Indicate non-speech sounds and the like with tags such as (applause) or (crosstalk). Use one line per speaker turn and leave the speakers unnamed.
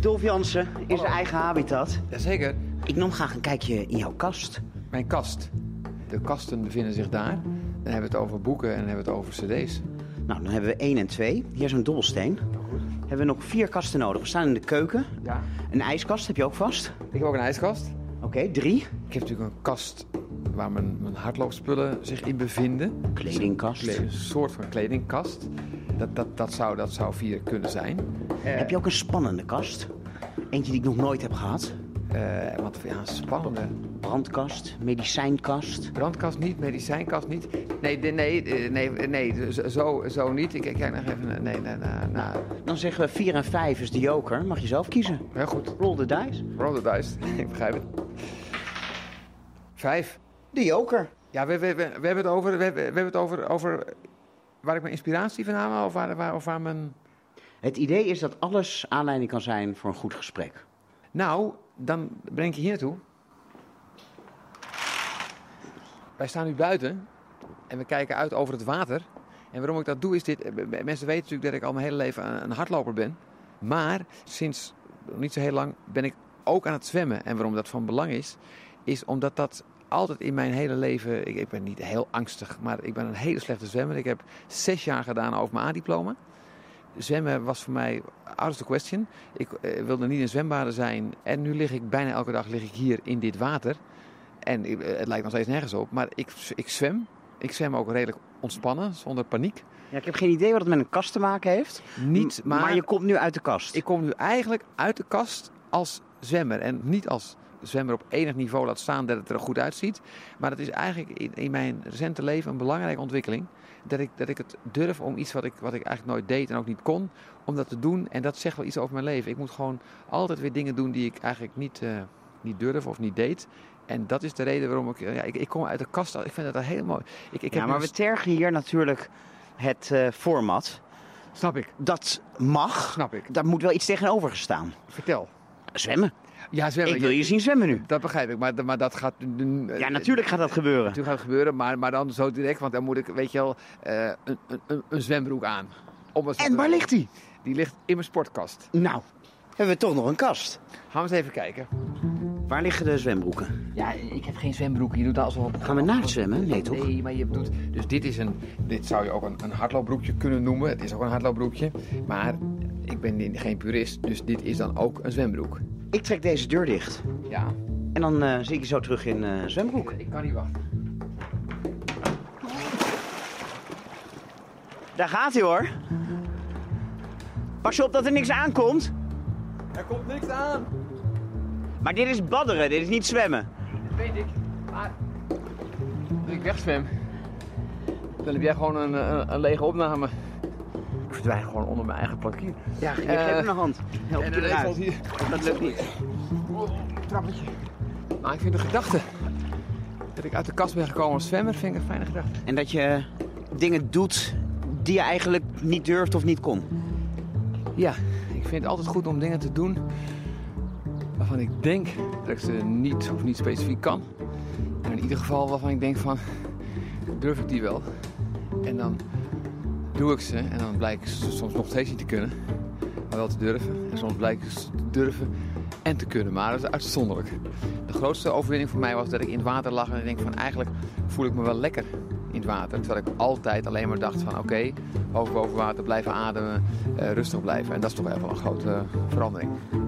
Dolf Jansen in zijn eigen habitat.
Jazeker,
Ik nam graag een kijkje in jouw kast.
mijn kast. De kasten bevinden zich daar. Dan hebben we het over boeken en dan hebben we het over cd's.
Nou, dan hebben we één en twee. Hier is een dobbelsteen. Hebben we nog vier kasten nodig. We staan in de keuken.
Ja.
Een ijskast heb je ook vast.
Ik heb ook een ijskast.
Oké, drie.
Ik heb natuurlijk een kast waar mijn, mijn hardloopspullen zich in bevinden.
Kledingkast.
Kle- Een soort van kledingkast. Dat, dat, dat, zou, dat zou vier kunnen zijn.
Heb je ook een spannende kast? Eentje die ik nog nooit heb gehad.
Eh want ja, spannende.
Brandkast, medicijnkast.
Brandkast niet, medicijnkast niet. Nee, de- nee, eh, nee, eh, nee zo- zo, zo niet. Ik ik kijk nog even naar... Nee, naar, naar, naar.
Dan zeggen we vier en vijf is de joker. Mag je zelf kiezen.
Heel goed.
Roll the dice.
Roll the dice. (laughs) Ik begrijp het. Vijf.
De joker.
Ja, we, we, we, we hebben het over... We, hebben- we hebben het over, over waar ik mijn inspiratie vandaan haal of waar, waar, of waar mijn...
Het idee is dat alles aanleiding kan zijn voor een goed gesprek.
Nou, dan breng ik je hier naartoe. Wij staan nu buiten en we kijken uit over het water. En waarom ik dat doe is dit... eh, Mensen weten natuurlijk dat ik al mijn hele leven een- een hardloper ben. Maar sinds niet zo heel lang ben ik ook aan het zwemmen. En waarom dat van belang is, is omdat dat altijd in mijn hele leven... Ik, ik ben niet heel angstig, maar ik ben een hele slechte zwemmer. Ik heb zes jaar gedaan over mijn A-diploma. Zwemmen was voor mij out of the question. Ik eh, wilde niet in zwembaden zijn. En nu lig ik bijna elke dag lig ik hier in dit water. En ik- eh, het lijkt nog steeds nergens op. Maar ik, ik zwem. Ik zwem ook redelijk ontspannen, zonder paniek.
Ja, ik heb geen idee wat het met een kast te maken heeft.
Niet,
M- maar...
maar,
je komt nu uit de kast.
ik kom nu eigenlijk uit de kast als zwemmer. En niet als zwemmer op enig niveau laat staan dat het er goed uitziet. Maar het is eigenlijk in, in mijn recente leven een belangrijke ontwikkeling. Dat ik, dat ik het durf om iets wat ik, wat ik eigenlijk nooit deed en ook niet kon, om dat te doen. En dat zegt wel iets over mijn leven. Ik moet gewoon altijd weer dingen doen die ik eigenlijk niet, eh, niet durf of niet deed. En dat is de reden waarom ik... eh, Ja, ik, ik kom uit de kast. Ik vind dat heel mooi. Ik, ik
ja,
heb
maar
een-
we tergen hier natuurlijk het eh, format.
Snap ik.
Dat mag.
Snap ik.
Daar moet wel iets tegenover gestaan.
Vertel.
Zwemmen.
Ja, zwemmen.
Ik wil je zien zwemmen nu.
Dat begrijp ik. Maar, maar dat gaat... eh,
Ja, natuurlijk gaat dat gebeuren.
Natuurlijk gaat het gebeuren, maar, maar dan zo direct, want dan moet ik, weet je wel, eh, een, een- een, een zwembroek aan. Om het-
En waar ligt die?
Die ligt in mijn sportkast.
Nou, hebben we toch nog een kast.
Gaan we eens even kijken.
Waar liggen de zwembroeken?
Ja, ik heb geen zwembroek. Je doet dat alsof...
Gaan we naakt zwemmen? Nee, toch?
Nee, maar je doet... Dus dit is een... Dit zou je ook een, een hardloopbroekje kunnen noemen. Het is ook een hardloopbroekje. Maar ik ben ni- geen purist, dus dit is dan ook een zwembroek.
Ik trek deze deur dicht.
Ja.
En dan eh, zie ik je zo terug in eh zwembroek.
Ik kan niet wachten.
Daar gaat hij hoor. Pas op dat er niks aankomt.
Er komt niks aan!
Maar dit is badderen, dit is niet zwemmen.
Dat weet ik. Maar als ik wegzwem, dan heb jij gewoon een, een, een lege opname. Ik verdwijn gewoon onder mijn eigen plakier.
Ja, geef
Eh,
hem een hand. Help
en
je
dan
eruit.
valt hier.
Dat lukt niet.
Trappetje. Maar Nou, ik vind de gedachte dat ik uit de kast ben gekomen als zwemmer, vind ik een fijne gedachte.
En dat je dingen doet die je eigenlijk niet durft of niet kon.
Ja, ik vind het altijd goed om dingen te doen waarvan ik denk dat ik ze niet of niet specifiek kan. En in ieder geval waarvan ik denk van, durf ik die wel? En dan doe ik ze en dan blijk ik ze soms nog steeds niet te kunnen. Maar wel te durven. En soms blijk ik ze te durven en te kunnen. Maar dat is uitzonderlijk. De grootste overwinning voor mij was dat ik in het water lag. En ik denk van eigenlijk voel ik me wel lekker in het water. Terwijl ik altijd alleen maar dacht van oké, hoog boven water, blijven ademen, eh, rustig blijven. En dat is toch wel een grote eh, verandering.